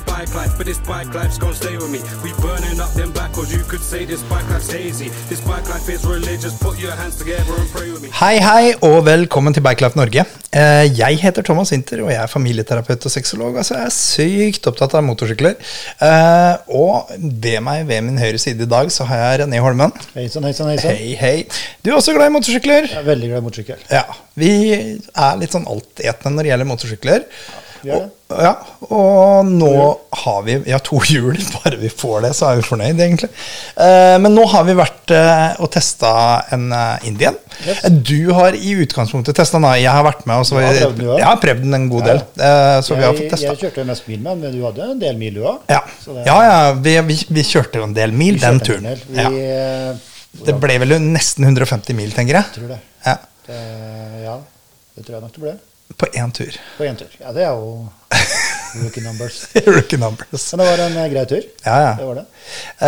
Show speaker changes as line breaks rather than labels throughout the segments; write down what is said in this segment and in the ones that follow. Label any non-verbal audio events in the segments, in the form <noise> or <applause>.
bike life, but this bike life's gonna stay with me. We burning up them backwards. You could say this bike life's hazy. This bike life is religious. Put your hands together and pray with me.
Hei, hei, og velkommen til Bikelife Norge. Eh, Jeg heter Thomas Winther, og jeg er familieterapeut og sexolog. Altså, jeg er sykt opptatt av motorsykler. Eh, Og ved meg, ved min høyre side i dag, så har jeg René Holmen.
Hei sann, hei sann, hei sann.
Hei, hei. Du er også glad i motorsykler?
Jeg er veldig glad i motorsykkel.
Ja. Vi er litt sånn altetende når det gjelder motorsykler.
vi er det.
Og, ja, og nå har vi Ja, to <laughs> hjul. Bare vi får det, så er vi fornøyd, egentlig. Eh, men nå har vi vært eh, og testa en eh, Indian.
Yes.
Eh, Du har i utgangspunktet testa den. da. Jeg har vært med. Og så,
Du har prøvd den, du også?
jeg har prøvd den en god
Ja,
del. Eh, så vi har
Jeg-
fått testa.
Jeg kjørte jo mest mil med den, men du hadde en del mil du òg.
Ja. ja, ja. Vi, vi, vi kjørte jo en del mil den turen.
Vi,
Ja.
eh,
Det ble vel nesten 150 mil, tenker jeg.
Tror det.
Ja.
eh, ja, det tror jeg nok det ble.
På én tur. <laughs>
På én tur. Ja, det er jo rookie numbers.
Rookie numbers.
Men det var en eh, grei tur.
Ja, ja.
Det var det.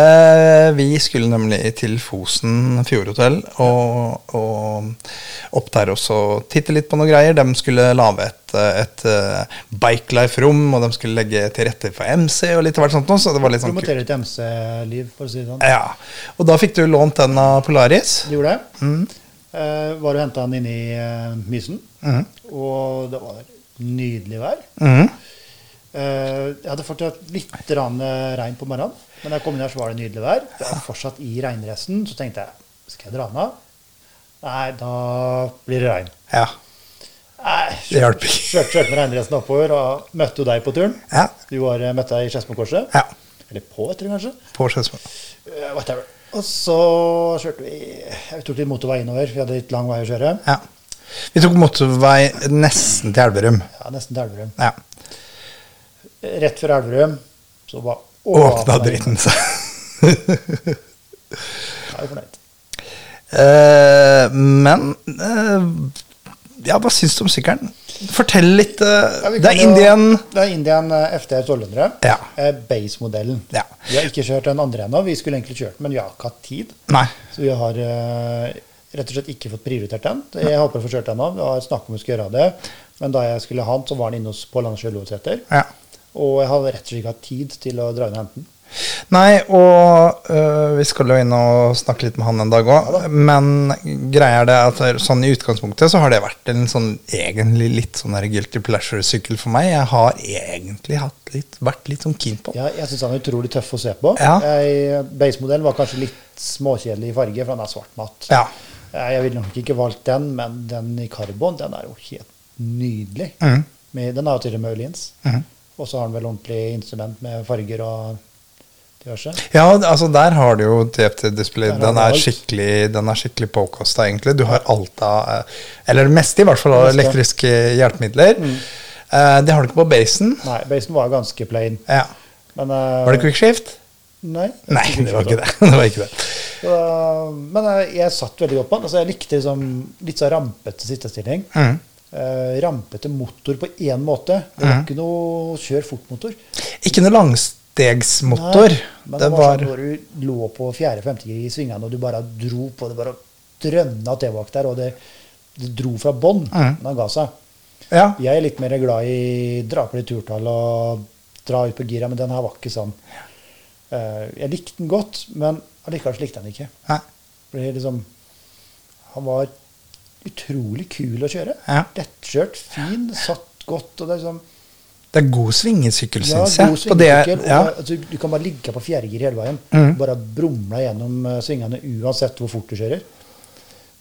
Eh, vi skulle nemlig til Fosen Fjordhotell og, og opp der også titte litt på noen greier. De skulle lage et, et eh, Bikelife-rom, og de skulle legge til rette for MC og litt av hvert sånt. Også, så det var litt sånn kult.
Promoterer et MC-liv, for å si det sånn.
Ja. Og da fikk du lånt den av Polaris.
Du gjorde det?
Mm.
Eh, var og henta den inni eh, Mysen,
Mm-hmm.
og det var nydelig vær.
Mhm.
Eh, jeg hadde fortsatt litt grann, eh, regn på morgenen, men da jeg kom inn her, så var det nydelig vær. Jeg var fortsatt i regndressen, så tenkte jeg skal jeg dra den av? Nei, da blir det regn.
Ja.
Nei,
Det hjalp
kjørte,
ikke.
kjørte med regndressen oppover og møtte jo deg på turen.
Ja.
Du var, eh, møtte deg i Skedsmokorset.
Ja.
Eller på, etter kanskje.
På Skedsmo.
Eh, whatever. Og så kjørte vi Jeg tok litt motorvei innover, for vi hadde litt lang vei å kjøre.
Ja. Vi tok motorvei nesten til Elverum.
Ja, Nesten til Elverum.
Ja.
Rett før Elverum så bare
Åpna dritten seg. <laughs>
Da er vi fornøyd.
Eh, men eh, Ja, hva syns du om sykkelen? Fortell litt. eh,
Ja, vi
det
kan
er
jo-
Indian.
Det er Indian eh, FTR 1200.
Ja.
Eh, Base-modellen.
Ja.
Vi har ikke kjørt den andre ennå. Vi skulle egentlig kjørt den, men vi har ikke hatt tid.
Nei.
Så vi har eh, rett og slett ikke fått prioritert den. Jeg håper å få kjørt den nå. Vi har snakket om vi skulle gjøre det, men da jeg skulle ha den, så var den inne hos Pål Anders Jølosæter.
Ja.
Og jeg hadde rett og slett ikke hatt tid til å dra inn og hente den.
Nei, og øh, vi skal jo inn og snakke litt med han en dag òg. Men greia er det at sånn i utgangspunktet så har det vært en sånn egentlig litt sånn der guilty pleasure-sykkel for meg. Jeg har egentlig hatt litt, vært litt sånn keen på den.
Ja, jeg syns den er utrolig tøff å se på.
Ja.
Jeg- Base-modellen var kanskje litt småkjedelig i farge, for den er svart matt.
Ja.
Eh, Jeg ville nok ikke valgt den, men den i karbon, den er jo helt nydelig.
Mhm.
Med, den er jo til og med Øliens.
Mhm.
Og så har den vel ordentlig instrument med farger og diverse.
Ja, altså der har du jo TFT-display.
Der har
Den,
du
er
alt.
skikkelig- den er skikkelig påkosta, egentlig. Du har alt av eh, Eller det meste, i hvert fall, av
Det meste. Mm.
elektriske hjelpemidler. Eh, det har du ikke på basen.
Nei, basen var jo ganske plain.
Ja.
Men, eh,
Var det quickshift?
Nei.
Nei, det var ikke det. <laughs> det, var ikke det.
Så, men eh, jeg satt veldig godt på den. Altså, jeg likte liksom, litt sånn rampete sittestilling.
Mhm.
Eh, rampete motor på én måte. Det
Mm.
var ikke noe kjør fort-motor.
Ikke noe langstegsmotor.
Nei, Men
det var
sånn når du lå på fjerde-femte gir i svingene, og du bare dro på det, bare drønna til bak der, og det, det dro fra bånn
Mhm.
når han ga seg.
Ja.
Jeg er litt mer glad i dra på litt turtall og dra ut på gira, men den her var ikke sånn. Eh, jeg likte den godt, men allikevel så likte jeg den ikke.
Nei.
For det er liksom, han var utrolig kul å kjøre.
Ja.
Lettkjørt, fin, satt godt. og det er liksom,
Det er god svingesykkel,
ja,
syns
god
jeg. På det,
svingesykkel.
ja. Mm.
og altså, Du kan bare ligge på fjerdegir hele veien. Bare brumle gjennom eh, svingene uansett hvor fort du kjører.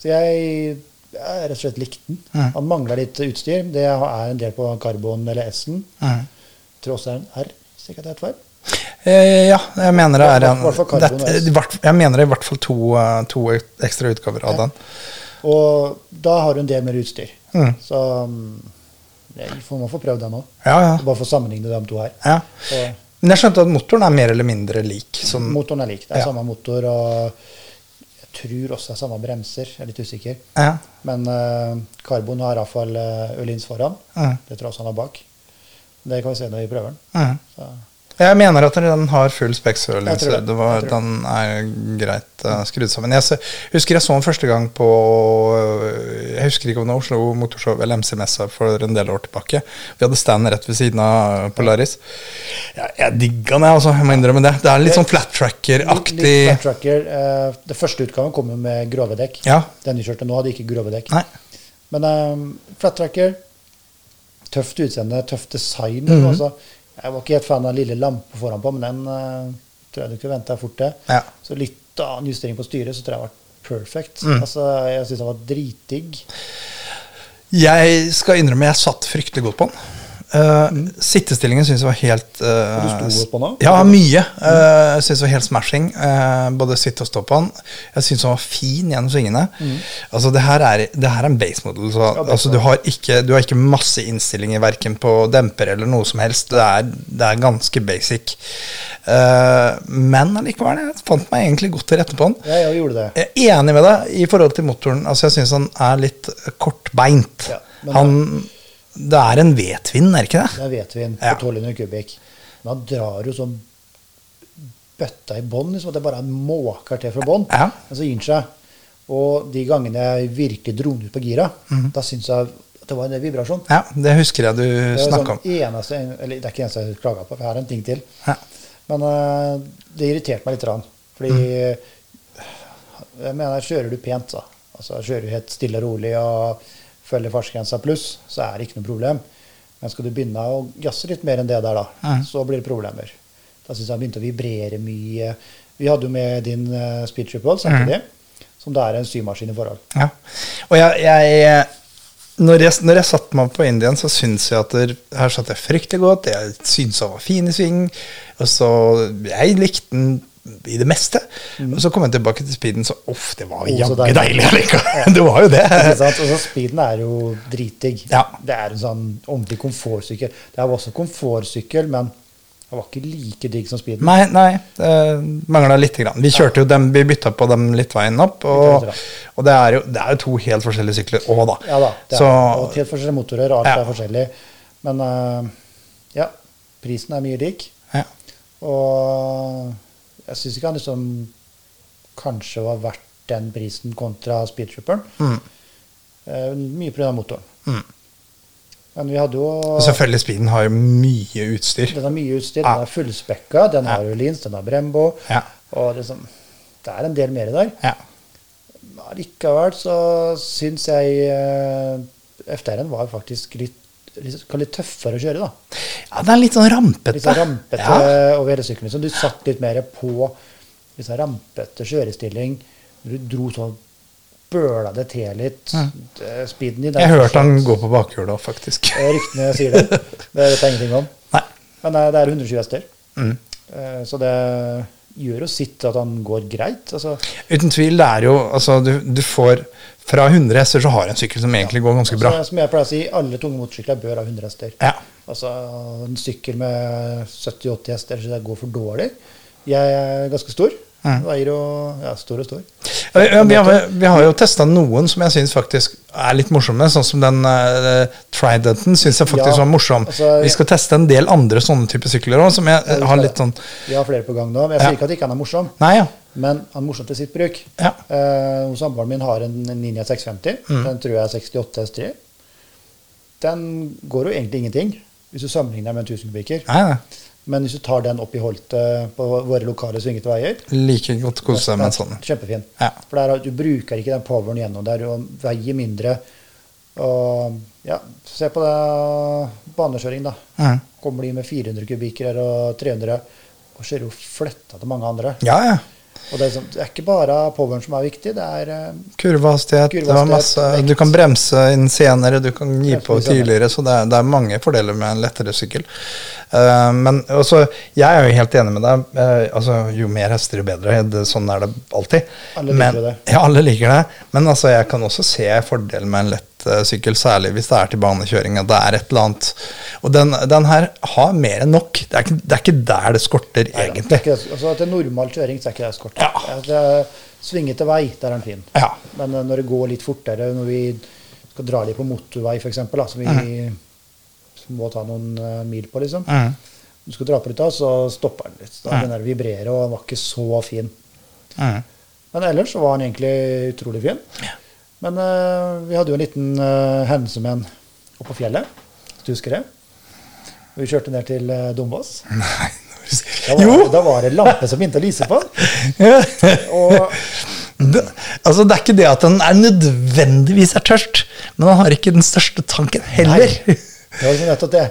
Så jeg, jeg rett og slett likte den. Han mangla litt utstyr. Det er en del på karbon eller S-en.
Mhm.
Tross det er en R. Sikkert det er et feil.
Eh, ja, jeg mener det er
Hvert-
en
hvert fall
det,
karbon S.
i hvert- Jeg mener det er i hvert fall to, eh, to ekstra utgaver av den.
Og da har du en del mer utstyr.
Mhm.
Så mm, jeg får, må få prøvd den òg.
Ja, ja.
Bare for å sammenligne de to her. Eh,
Ja.
Og-
Men jeg skjønte at motoren er mer eller mindre lik. Sånn,
Motoren er lik. Det er
Ja.
samme motor. og Jeg tror også det er samme bremser, jeg er litt usikker.
Ja.
Men eh, Carbon har iallfall uh, Ølins foran.
Ja.
Det tror jeg også han har bak. Det kan vi se når vi prøver den.
ja.
Så.
Mm. Jeg mener at den har full
Jeg tror
spekserlinse.
det.
Det var-
Jeg tror
Den er greit eh, skrudd sammen. Jeg se- husker jeg så den første gang på øh, Jeg husker ikke om det var Oslo Motorshow eller MC-messa for en del år tilbake. Vi hadde standen rett ved siden av Polaris. Jeg, jeg digga den, jeg, altså. Jeg må innrømme det. Det er litt sånn flat
Litt- litt flat
tracker-aktig.
tracker. Eh, det første utgaven kom jo med grove dekk.
Ja.
Den vi kjørte nå, hadde ikke grove dekk.
Nei.
Men eh, flat tracker, tøft utseende, tøft design.
Mhm.
altså. Jeg var ikke helt fan av den lille lampa foran på, men den eh, tror jeg du kunne vente deg fort til.
Ja.
Så litt annen justering på styret, så tror jeg det var perfect.
Mm.
Altså, jeg syns den var dritdigg.
Jeg skal innrømme jeg satt fryktelig godt på den. Eh, Sittestillingen syns jeg var helt eh,
Mm. Og du sto godt på den Mm. også?
Ja, mye. Eh, Jeg syns det var helt smashing. eh, både sitte og stå på den. Jeg syns den var fin gjennom svingene.
Mm.
Altså, det her er, det her er en base model. Så,
base
altså, du, har ikke, du har ikke masse innstillinger verken på demper eller noe som helst. Det er, det er ganske basic. Eh, men allikevel, jeg fant meg egentlig godt til rette på den.
Jeg, jeg gjorde det.
Jeg er enig med deg i forhold til motoren. Altså, jeg syns han er litt kortbeint.
Ja, men-
han, det er en V-tvinn, er det ikke det?
Den vet vi på
Ja.
1200 kubikk. Men han drar jo sånn bøtta i bånn, liksom, at det bare er en måker til fra bånn.
Ja.
Men så gir han seg. Og de gangene jeg virkelig dro den ut på gira,
Mhm.
da syns jeg at det var en vibrasjon.
Ja, det husker jeg du
Det er
snakka
sånn
om.
eneste, eller det er ikke eneste jeg klaga på, for jeg har en ting til.
Ja.
Men eh, det irriterte meg litt. Rann, fordi
Mm.
jeg mener, kjører du pent, da. Altså, kjører du helt stille og rolig og følger fartsgrensa pluss, så er det ikke noe problem. Men skal du begynne å jazze litt mer enn det der, da, så blir det problemer. Da syns jeg han begynte å vibrere mye. Vi hadde jo med din eh, speed triple
Mm.
samtidig, som det er en symaskin i forhold.
Ja. Og jeg, jeg når jeg, når jeg satte meg på Indian, så syns jeg at der, her satt jeg fryktelig godt. Jeg syns han var fin i sving. Og så Jeg likte den i det meste. Og så kom jeg tilbake til speeden, så uff, det var
Mm. så
jaggu
deilig.
deilig allikevel. <laughs> Det var jo det.
Ikke sant? Og så speeden er jo dritdigg.
Ja.
Det er en sånn ordentlig komfortsykkel. Det her var også komfortsykkel, men den var ikke like digg som speeden.
Nei, nei. Det mangla lite grann. Vi kjørte jo dem, vi bytta på dem litt veien opp.
Bytta
Og,
litt,
og det, er jo, det er jo to helt forskjellige sykler òg, da.
Ja da, det er,
så
og helt forskjellige motorer, alt
Ja.
er forskjellig. Men eh, ja, prisen er mye lik.
ja.
Og jeg syns ikke han liksom kanskje var verdt den prisen kontra speedtripperen. Mm. Uh, mye pga. motoren. Men vi hadde jo
Mm. Og selvfølgelig, speeden har jo mye utstyr.
Den har mye utstyr.
Ja.
Den er fullspekka. Den har Ulins, den har Brembo.
Ja.
Og liksom, det er en del mer der.
Ja.
Men Allikevel så syns jeg eh, FTR-en var faktisk litt, litt, litt tøffere å kjøre, da
ja, det er litt sånn rampete.
litt sånn rampete
Ja.
over hele sykkelen. Så du satt litt mer på litt sånn rampete kjørestilling. Du dro sånn Bøla det til litt. eh, Speeden din er
Jeg hørte han
fortsatt-
gå på bakhjulet òg, faktisk.
Eh, Ryktene sier det. Det vet jeg ingenting om.
Nei.
Men eh, det er 120 hester.
Mm.
Eh, Så det gjør jo sitt at han går greit. Altså,
Uten tvil, det er jo Altså, du, du får Fra 100 hester så har du en sykkel som egentlig går ganske bra.
så, Altså, som jeg pleier å si, alle tunge motorsykler bør ha 100 hester.
Ja.
Altså, en sykkel med 70-80 hester så det går for dårlig. Jeg er ganske stor.
Mm.
Veier jo ja, stor og stor.
Ja, ja, Vi har, vi har jo testa noen som jeg syns faktisk er litt morsomme. Sånn som den uh, Tridenton syns jeg faktisk
Ja,
var morsom.
altså,
vi skal teste en del andre sånne typer sykler òg, som jeg eh, har litt sånn
Vi har flere på gang nå. men Jeg
Ja.
sier ikke at ikke han er morsom,
Nei, ja.
men han er morsom til sitt bruk.
Ja. Mm.
Eh, og Samboeren min har en Ninja 650. Den tror jeg er 68 S3. Den går jo egentlig ingenting hvis du sammenligner med en 1000 kubikker.
Nei, nei.
Men hvis du tar den opp i holtet på våre lokale svingete veier
Like godt kose seg med en sånn.
Kjempefin.
Ja.
For der, har- du bruker ikke den poweren gjennom der, og veier mindre. Og ja, se på det banekjøring, da.
Mhm.
Kommer de med 400 kubikker her og 300, og kjører jo fletta til mange andre.
Ja, ja.
Og det er, sånn, det er ikke bare poweren som er viktig, det er eh,
Kurvehastighet, det var
Kurvehastighet,
masse
vekt.
Du kan bremse inn senere, du kan gi
Bremse
på
inn senere.
tidligere, så det er, det er mange fordeler med en lettere sykkel. Eh, men også, jeg er jo helt enig med deg. eh, altså, jo mer hester, jo bedre. Det, sånn er det alltid.
Alle liker
men,
jo det.
Ja, alle liker det. Men altså, jeg kan også se fordelen med en lett eh, sykkel, særlig hvis det er til banekjøring. At det er et eller annet. Og den, den her har mer enn nok. Det er ikke, det er ikke der det skorter,
Nei da, det
egentlig.
er ikke det- altså, Til normal kjøring så er ikke det eskort.
Ja.
Altså, det er- Svingete vei, der er den fin.
Ja.
Men eh, når det går litt fortere, når vi skal dra litt på motorvei f.eks., som vi
Mhm.
må ta noen eh, mil på, liksom
Mm.
Du skal dra på litt av, så stopper den litt. Da
Mhm.
begynner den å vibrere, og den var ikke så fin.
Mm.
Men ellers så var han egentlig utrolig fin. Men eh, vi hadde jo en liten eh, hendelse med han oppå fjellet. Hvis du husker det? Vi kjørte ned til uh, Dombås.
Nei, når du
Da
sier
var,
Jo!
da var det lampe som begynte å lyse på.
<laughs>
Og
Det, altså, det er ikke det at den er nødvendigvis er tørst, men han har ikke den største tanken heller.
Nei, det var liksom nettopp det.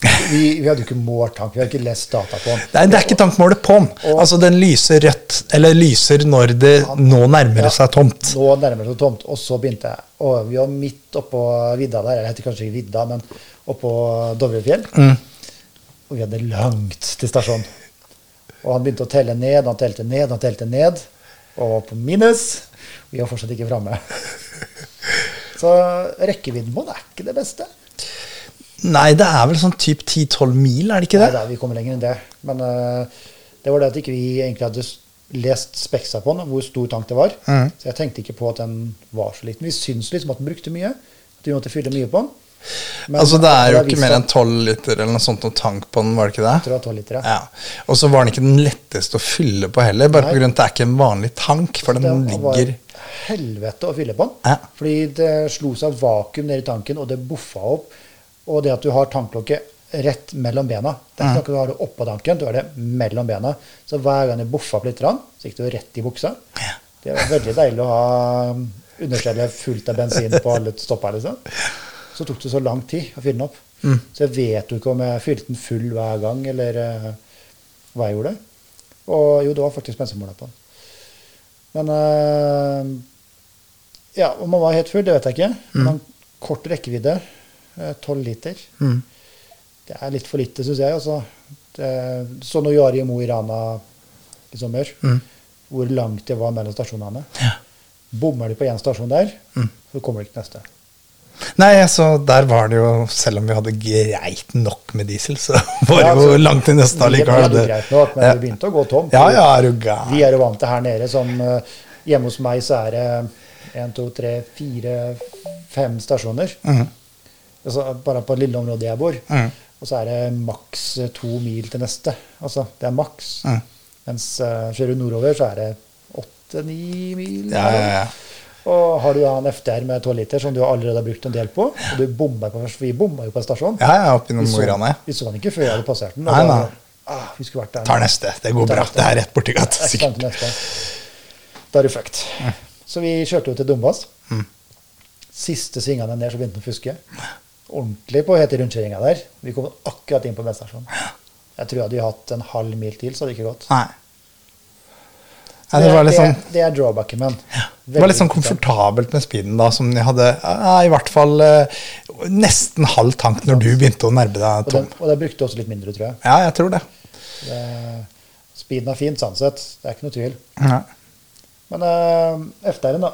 Vi, vi hadde jo ikke målt tank, vi hadde ikke lest data på den.
<laughs> Nei, det er ikke tankmålet på den.
Og-
Altså, den lyser rødt, eller lyser når det nå nærmer det seg tomt.
Nå nærmer det seg tomt, og så begynte jeg. Og vi var midt oppå vidda der, eller heter kanskje ikke vidda, men oppå Dovrefjell.
Mm.
Og vi hadde langt til stasjonen. Og han begynte å telle ned, han telte ned, han telte ned. Og var på minus. Vi var fortsatt ikke framme.
<laughs>
Så rekkevidden på den er ikke det beste.
Nei, det er vel sånn typ 10-12 mil, er det ikke
Nei,
det?
da, vi kommer lenger enn det. Men eh, det var det at ikke vi egentlig hadde s- lest speksa på den, hvor stor tank det var.
Mhm.
Så jeg tenkte ikke på at den var så liten. Vi syns liksom at den brukte mye. At vi måtte fylle mye på den. Men eh,
altså, det er jo
har
ikke
vist
mer
seg
enn 12 liter eller noe sånt og tank på den, var det ikke
at
det?
det var 12 liter, ja.
Ja. Og så var den ikke den letteste å fylle på heller, bare
Nei.
på grunn av at det er ikke en vanlig tank, for den
Det var
ligger
helvete å fylle på den.
Ja.
Fordi det slo seg vakuum ned i tanken, og det buffa opp. Og det at du har tanklokket rett mellom bena Det er
Mhm.
ikke noe du har det oppå tanken, du har det mellom bena. Så hver gang det buffa opp litt, rann, så gikk det jo rett i buksa. Det var veldig deilig å ha understellet fullt av bensin på alle stopper. liksom. Så tok det så lang tid å fylle den opp.
Mhm.
Så jeg vet jo ikke om jeg fylte den full hver gang, eller eh, hva jeg gjorde. Og jo, det var faktisk bensinmåla på den. Men eh, Ja, om han var helt full, det vet jeg ikke.
Mm.
Men han- kort rekkevidde, eh, tolv liter.
Mm.
Det er litt for lite, syns jeg. Altså. Det, så når Jari i Mo i Rana i sommer,
Mm.
hvor langt det var mellom stasjonene. Bommer du på én stasjon der,
Mm.
så kommer du ikke til neste.
Nei, altså, der var det jo Selv om vi hadde greit nok med diesel, så <laughs> var det
Ja,
jo
altså,
langt til neste
vi-
allikevel.
vi hadde
det-
greit nok, men
Ja.
det begynte å gå tomt.
Ja, ja, er du gæren.
Vi er jo vant til her nede som eh, Hjemme hos meg så er det én, to, tre, fire, fem stasjoner.
Mhm.
Altså, bare på det lille området jeg bor. Og så er det maks eh, to mil til neste. Altså, det er maks.
Mhm.
Mens eh, kjører du nordover, så er det åtte-ni mil.
Ja, ja, ja.
Og har du da en FDR med 12 liter, som du allerede har brukt en del på, og du bommer på, vi bomma jo på en stasjon
Ja, ja, opp innom
vi,
Mo i Rana.
så,
ja.
vi så den ikke før jeg hadde passert den. og
Nei,
da-
nei.
Ah, vi skulle vært der.
Tar neste. Det går
Tar
bra.
neste.
Det er rett borti gata.
Ja, ikke sant,
sikkert. Mm.
neste gang. Da er du fucked. Så vi kjørte jo til Dombås. Siste svingene ned, så begynte den å fuske. Ordentlig på hete rundkjøringa der. Vi kom akkurat inn på bensinstasjonen. Jeg tror jeg hadde hatt en halv mil til, så hadde det ikke gått.
Nei. Nei, det var litt sånn
det, det er drawbacken min.
det var litt sånn komfortabelt med speeden, da, som jeg hadde ja, i hvert fall eh, nesten halv tank når du begynte å nærme deg
Og
tom.
den, og den brukte også litt mindre, tror jeg.
Ja, jeg tror det.
Det, speeden er fint, sånn sett. Det er ikke noe tvil.
Ja.
Men uh, FDR-en, da.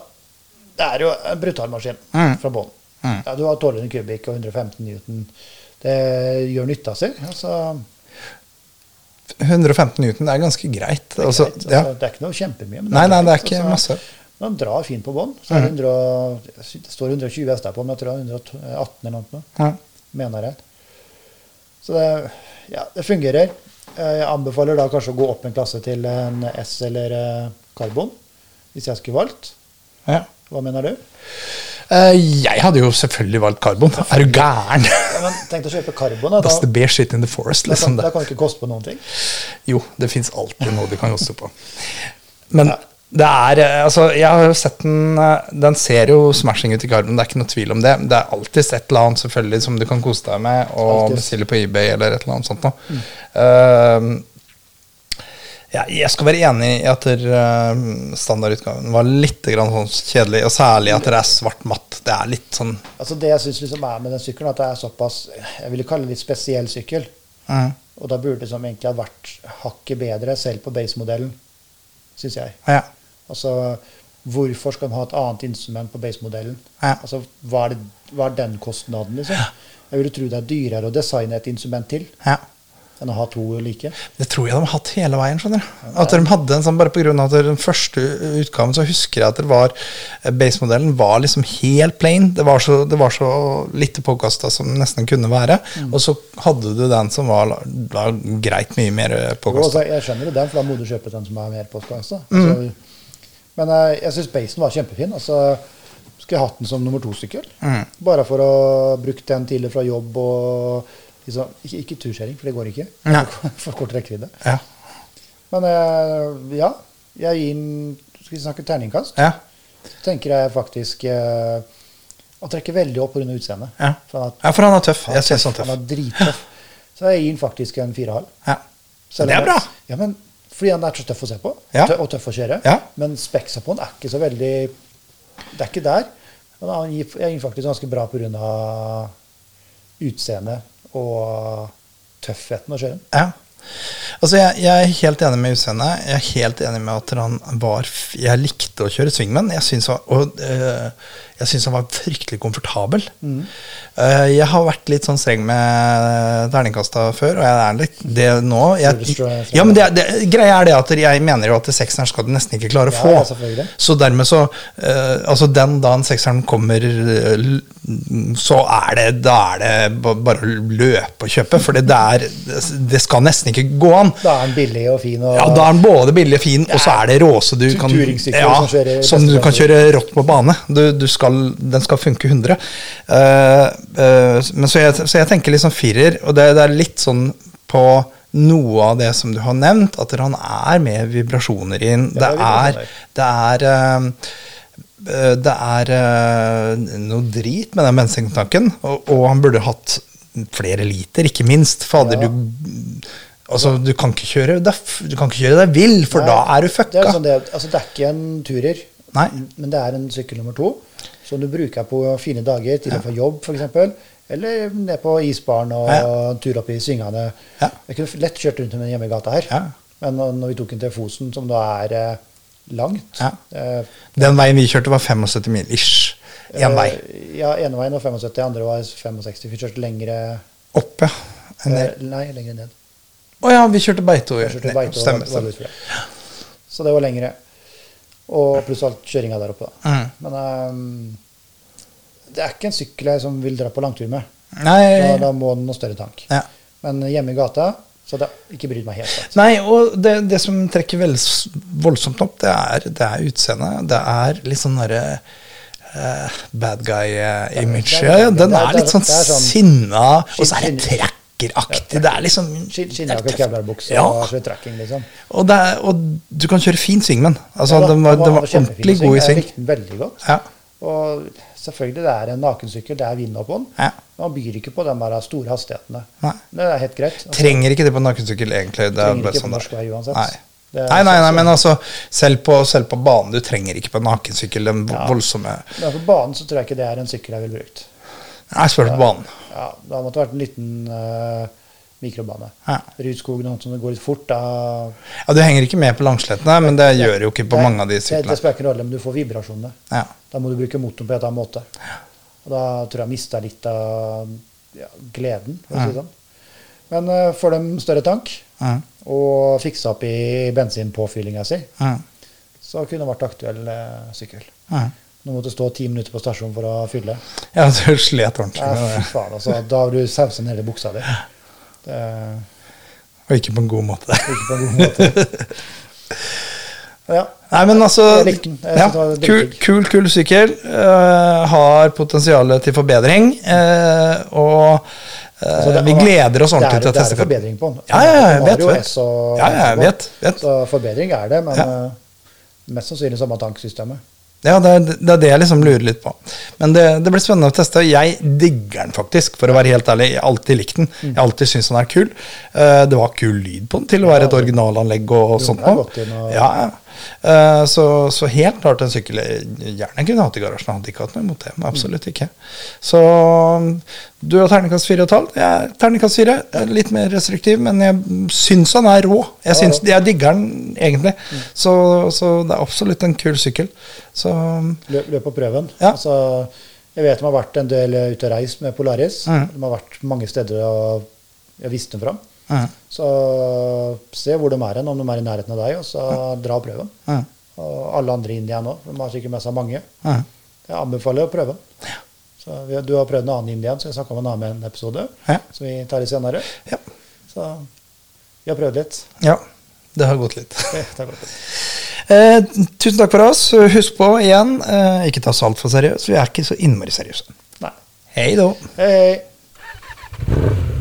Det er jo en brutal maskin fra bånn. Ja, du har 1200 kubikk og 115 newton. Det gjør nytta si. Altså,
115 newton er ganske greit.
det, er
altså,
greit.
ja.
altså, det er ikke noe kjempemye. men
Nei, nei, det er
greit,
ikke masse. Mm.
Men han drar fint på bånn. Så er det 100 og- Det står 120 hester på, men jeg tror det er 118 eh, eller noe.
Ja.
mener jeg. Så det, ja, det fungerer. Eh, Jeg anbefaler da kanskje å gå opp en klasse til en S eller eh, karbon, hvis jeg skulle valgt.
Ja.
Hva mener du?
Eh, Jeg hadde jo selvfølgelig valgt karbon. Er du gæren? <laughs>
Ja, men tenk deg å kjøpe karbon. Da,
That's the
da,
bear shit in the forest,
da,
liksom.
kan,
det.
da kan det ikke koste på noen ting.
Jo, det fins alltid noe du kan josse på. Men det er eh, Altså, jeg har jo sett den eh, Den ser jo smashing ut i karmen, det er ikke noe tvil om det. Det er alltids et eller annet selvfølgelig som du kan kose deg med og
Alltid. Mm.
bestille på eBay eller et eller annet sånt noe. Eh, ja, jeg skal være enig i at der, eh, standardutgaven var litt grann sånn kjedelig, og særlig at det er svart matt. Det er litt sånn
Altså Det jeg syns liksom er med den sykkelen, at det er såpass Jeg ville kalle det litt spesiell sykkel.
mm,
Og da burde det som egentlig ha vært hakket bedre, selv på base-modellen, syns jeg.
ja,
Altså, hvorfor skal man ha et annet instrument på base-modellen?
Ja.
Altså, hva er, det, hva er den kostnaden, liksom? Jeg ville tro det er dyrere å designe et instrument til.
ja.
enn å ha to like.
Det tror jeg de har hatt hele veien. skjønner du. At de hadde en sånn, Bare pga. at den første u- utgaven så husker jeg at det var eh, base-modellen var liksom helt plain. Det var så, det var så lite påkasta som det nesten kunne være. Og så hadde du den som var, la- la greit mye mer
Jo, altså,
påkasta.
jeg skjønner jo den, for da må du kjøpe den som er mer postkassa.
Mm.
Altså, Men eh, jeg syns basen var kjempefin. Altså, skulle jeg hatt den som nummer to-sykkel.
Mm.
Bare for å brukt den tidlig fra jobb og liksom, Ikke, ikke turskjæring, for det går ikke.
Nei.
<laughs> For kort rekkevidde.
Ja.
Men eh, ja, jeg gir den Skal vi snakke terningkast?
Ja.
Så tenker jeg faktisk eh, Han trekker veldig opp pga. utseendet.
Ja.
For han er,
ja, for han er tøff. Jeg syns han er
han
tøff.
er drittøff. Så jeg gir den faktisk en fire og halv.
Ja.
Selv
Det er
om-
bra.
Ja, men fordi han er så tøff å se på,
Ja.
tø- og tøff å kjøre.
Ja.
Men speksa på han er ikke så veldig Det er ikke der. Men han gir, jeg gir faktisk ganske bra pga. utseendet og tøffheten å kjøre den.
Ja. Altså, jeg, jeg er helt enig med utseendet. Jeg er helt enig med at han var f- Jeg likte å kjøre swingman. Jeg syns han, og, eh, jeg syns han var fryktelig komfortabel.
Mm.
Eh, jeg har vært litt sånn streng med terningkasta før, og jeg er litt det nå. Jeg,
Tror du-
ja, men det, det, greia er det at jeg mener jo at sekseren skal du nesten ikke klare å
Ja,
få.
ja, selvfølgelig.
Så dermed så eh, Altså, den dagen sekseren kommer, eh, l- så er det Da er det ba- bare å løpe og kjøpe, for det der Det skal nesten ikke gå an.
Da er den billig og fin. Og,
Ja, Da er den både billig og fin, og så er det råse du kan
Turingssykler
ja,
som kjører i
Som du
beste
kan
klasse.
kjøre rått på bane. Du, du skal, den skal funke 100. Eh, eh, men så jeg, så jeg tenker liksom firer, og det, det er litt sånn på noe av det som du har nevnt, at han er med vibrasjoner inn.
Ja,
Det
det er sånn
er, det er eh, eh, det er eh, noe drit med den bensintanken, og, og han burde hatt flere liter, ikke minst. Fader,
Ja.
du Altså, du kan ikke kjøre deg, f- du kan ikke kjøre deg vill, for
Nei,
da er du
Det er,
fucka.
sånn det, altså, det er ikke en turer,
Nei.
men det er en sykkel nummer to. Som du bruker på fine dager til og fra jobb, f.eks. Eller ned på isbaren og
Ja.
en tur opp i svingene.
Ja.
Jeg kunne lett kjørt rundt med den hjemme i gata her.
Ja.
Men når- når vi tok den til Fosen, som da er eh, langt
Ja.
eh,
Den veien vi kjørte, var 75 mil ish. Én vei.
eh, Ja, ene veien var 75, andre var 65. Vi kjørte lengre
Opp, ja. En del.
eh, Nei, lengre ned.
Å ja, vi kjørte Beito.
Jeg kjørte Beito og
Stemmer.
var- var
stemmer.
utfor. Så det var lengre. Og pluss alt kjøringa der oppe, da.
Mm.
Men ehm, det er ikke en sykkel jeg som vil dra på langtur med. Da,
Nei,
da må den ha større tank.
ja.
Men hjemme i gata, så det, ikke bry meg helt. Altså.
Nei, og det, det som trekker velds- voldsomt opp, det er, det er utseendet. Det er litt sånn derre eh, bad guy-image.
det er-
Ja, ja, den
det er-
er litt
det er-
sånn
det er sånn-
sinna, og så er det
Skinn-
trekkeraktig. Det er liksom
Skin- Skinnjakke,
det er tøft.
kevlarebukse
Ja,
og svett tracking, liksom.
og, det er, og du kan kjøre fin swingman. Altså,
Ja da,
den var,
den
den var
kjempefin
ordentlig god i
Jeg
sving.
likte den veldig godt.
Ja.
Og selvfølgelig, det er en nakensykkel, det er vind oppå den.
Ja.
Man byr ikke på de der store hastighetene.
Nei.
Det er helt greit. Altså,
Trenger ikke det på nakensykkel, egentlig. Det er
trenger
bare
ikke
sånn
på norsk
det
vei
er.
uansett.
Nei.
Det er
Nei, nei, nei,
sånn-
men altså, selv på, selv på banen, du trenger ikke på nakensykkel den vo-
Ja.
voldsomme
Men på banen så tror jeg ikke det er en sykkel jeg ville brukt.
Nei, spør du på banen.
Ja, det måtte vært en liten eh, mikrobane.
Ja.
Rudskogen og sånt som det går litt fort. Da,
Ja, Du henger ikke med på langslettene, men det gjør jo ikke på
Nei,
mange av de
Det, det
syklene.
spiller ikke noen rolle, men du får vibrasjonene.
Ja.
Da må du bruke motoren på en annen måte. Og da tror jeg jeg mista litt av ja, gleden, for å si det sånn. Men eh, får dem større tank
Mm.
og fiksa opp i bensinpåfyllinga si,
Mm.
så kunne det vært aktuell eh, sykkel.
Mm.
Nå måtte du stå ti minutter på stasjonen for å fylle.
Ja, du slet ordentlig
Ja,
med
fy
det,
faen, altså. Da har du sausa ned i buksa di. Det er
og ikke på en god måte. <laughs>
ikke på en god måte. Ja.
Nei, men altså
Jeg likte den. Jeg
ja,
synes det var veldig
kul,
digg.
kul, kul sykkel. eh, har potensial til forbedring. eh, og eh,
Altså, det-
vi gleder oss ordentlig
det er,
til å teste
Det er forbedring på den.
Ja, ja, ja, jeg
Den
vet,
har jo
vet.
S og-
Ja, ja, jeg vet, vet.
Så forbedring er det, men
Ja.
eh, mest sannsynlig samme tanksystemet.
Ja, det er, det er det jeg liksom lurer litt på. Men det, det blir spennende å teste. Jeg digger den faktisk, for å være helt ærlig. Jeg har alltid likt den. Jeg har alltid syntes den er kul. Eh, det var kul lyd på den til å være et originalanlegg og, og
Jo,
sånt.
den er
nå.
godt inn og-
Ja, ja. Eh, så, så helt klart en sykkel jeg gjerne kunne hatt i garasjen. Jeg Hadde ikke hatt noe imot det. men Absolutt ikke. Så mm, du har terningkast fire og et halvt. Jeg er terningkast fire. Jeg er Litt mer restriktiv, men jeg syns han er rå. Jeg, syns, jeg digger den egentlig. Så, så det er absolutt en kul sykkel. Så
Løp, løp på prøven.
Ja.
Altså, jeg vet de har vært en del eh, ute og reist med Polaris.
Mhm.
De har vært mange steder og jeg viste dem fram.
Mhm.
Så se hvor de er hen, om de er i nærheten av deg, og så
Mm.
dra og prøv dem.
Ja.
Og alle andre indiaer nå, for de har sikkert med seg mange.
Ja.
Jeg anbefaler å prøve den. Så vi, du har prøvd en annen indian, så jeg snakka om en annen med en episode.
Ja.
Så vi tar det senere.
Ja.
Så vi har prøvd litt.
ja. Det har gått litt. <laughs>
Det er godt.
Eh, tusen takk for oss. Husk på igjen, eh, ikke ta oss altfor seriøst. Vi er ikke så innmari seriøse.
Nei.
Hei da.
Hei, hei.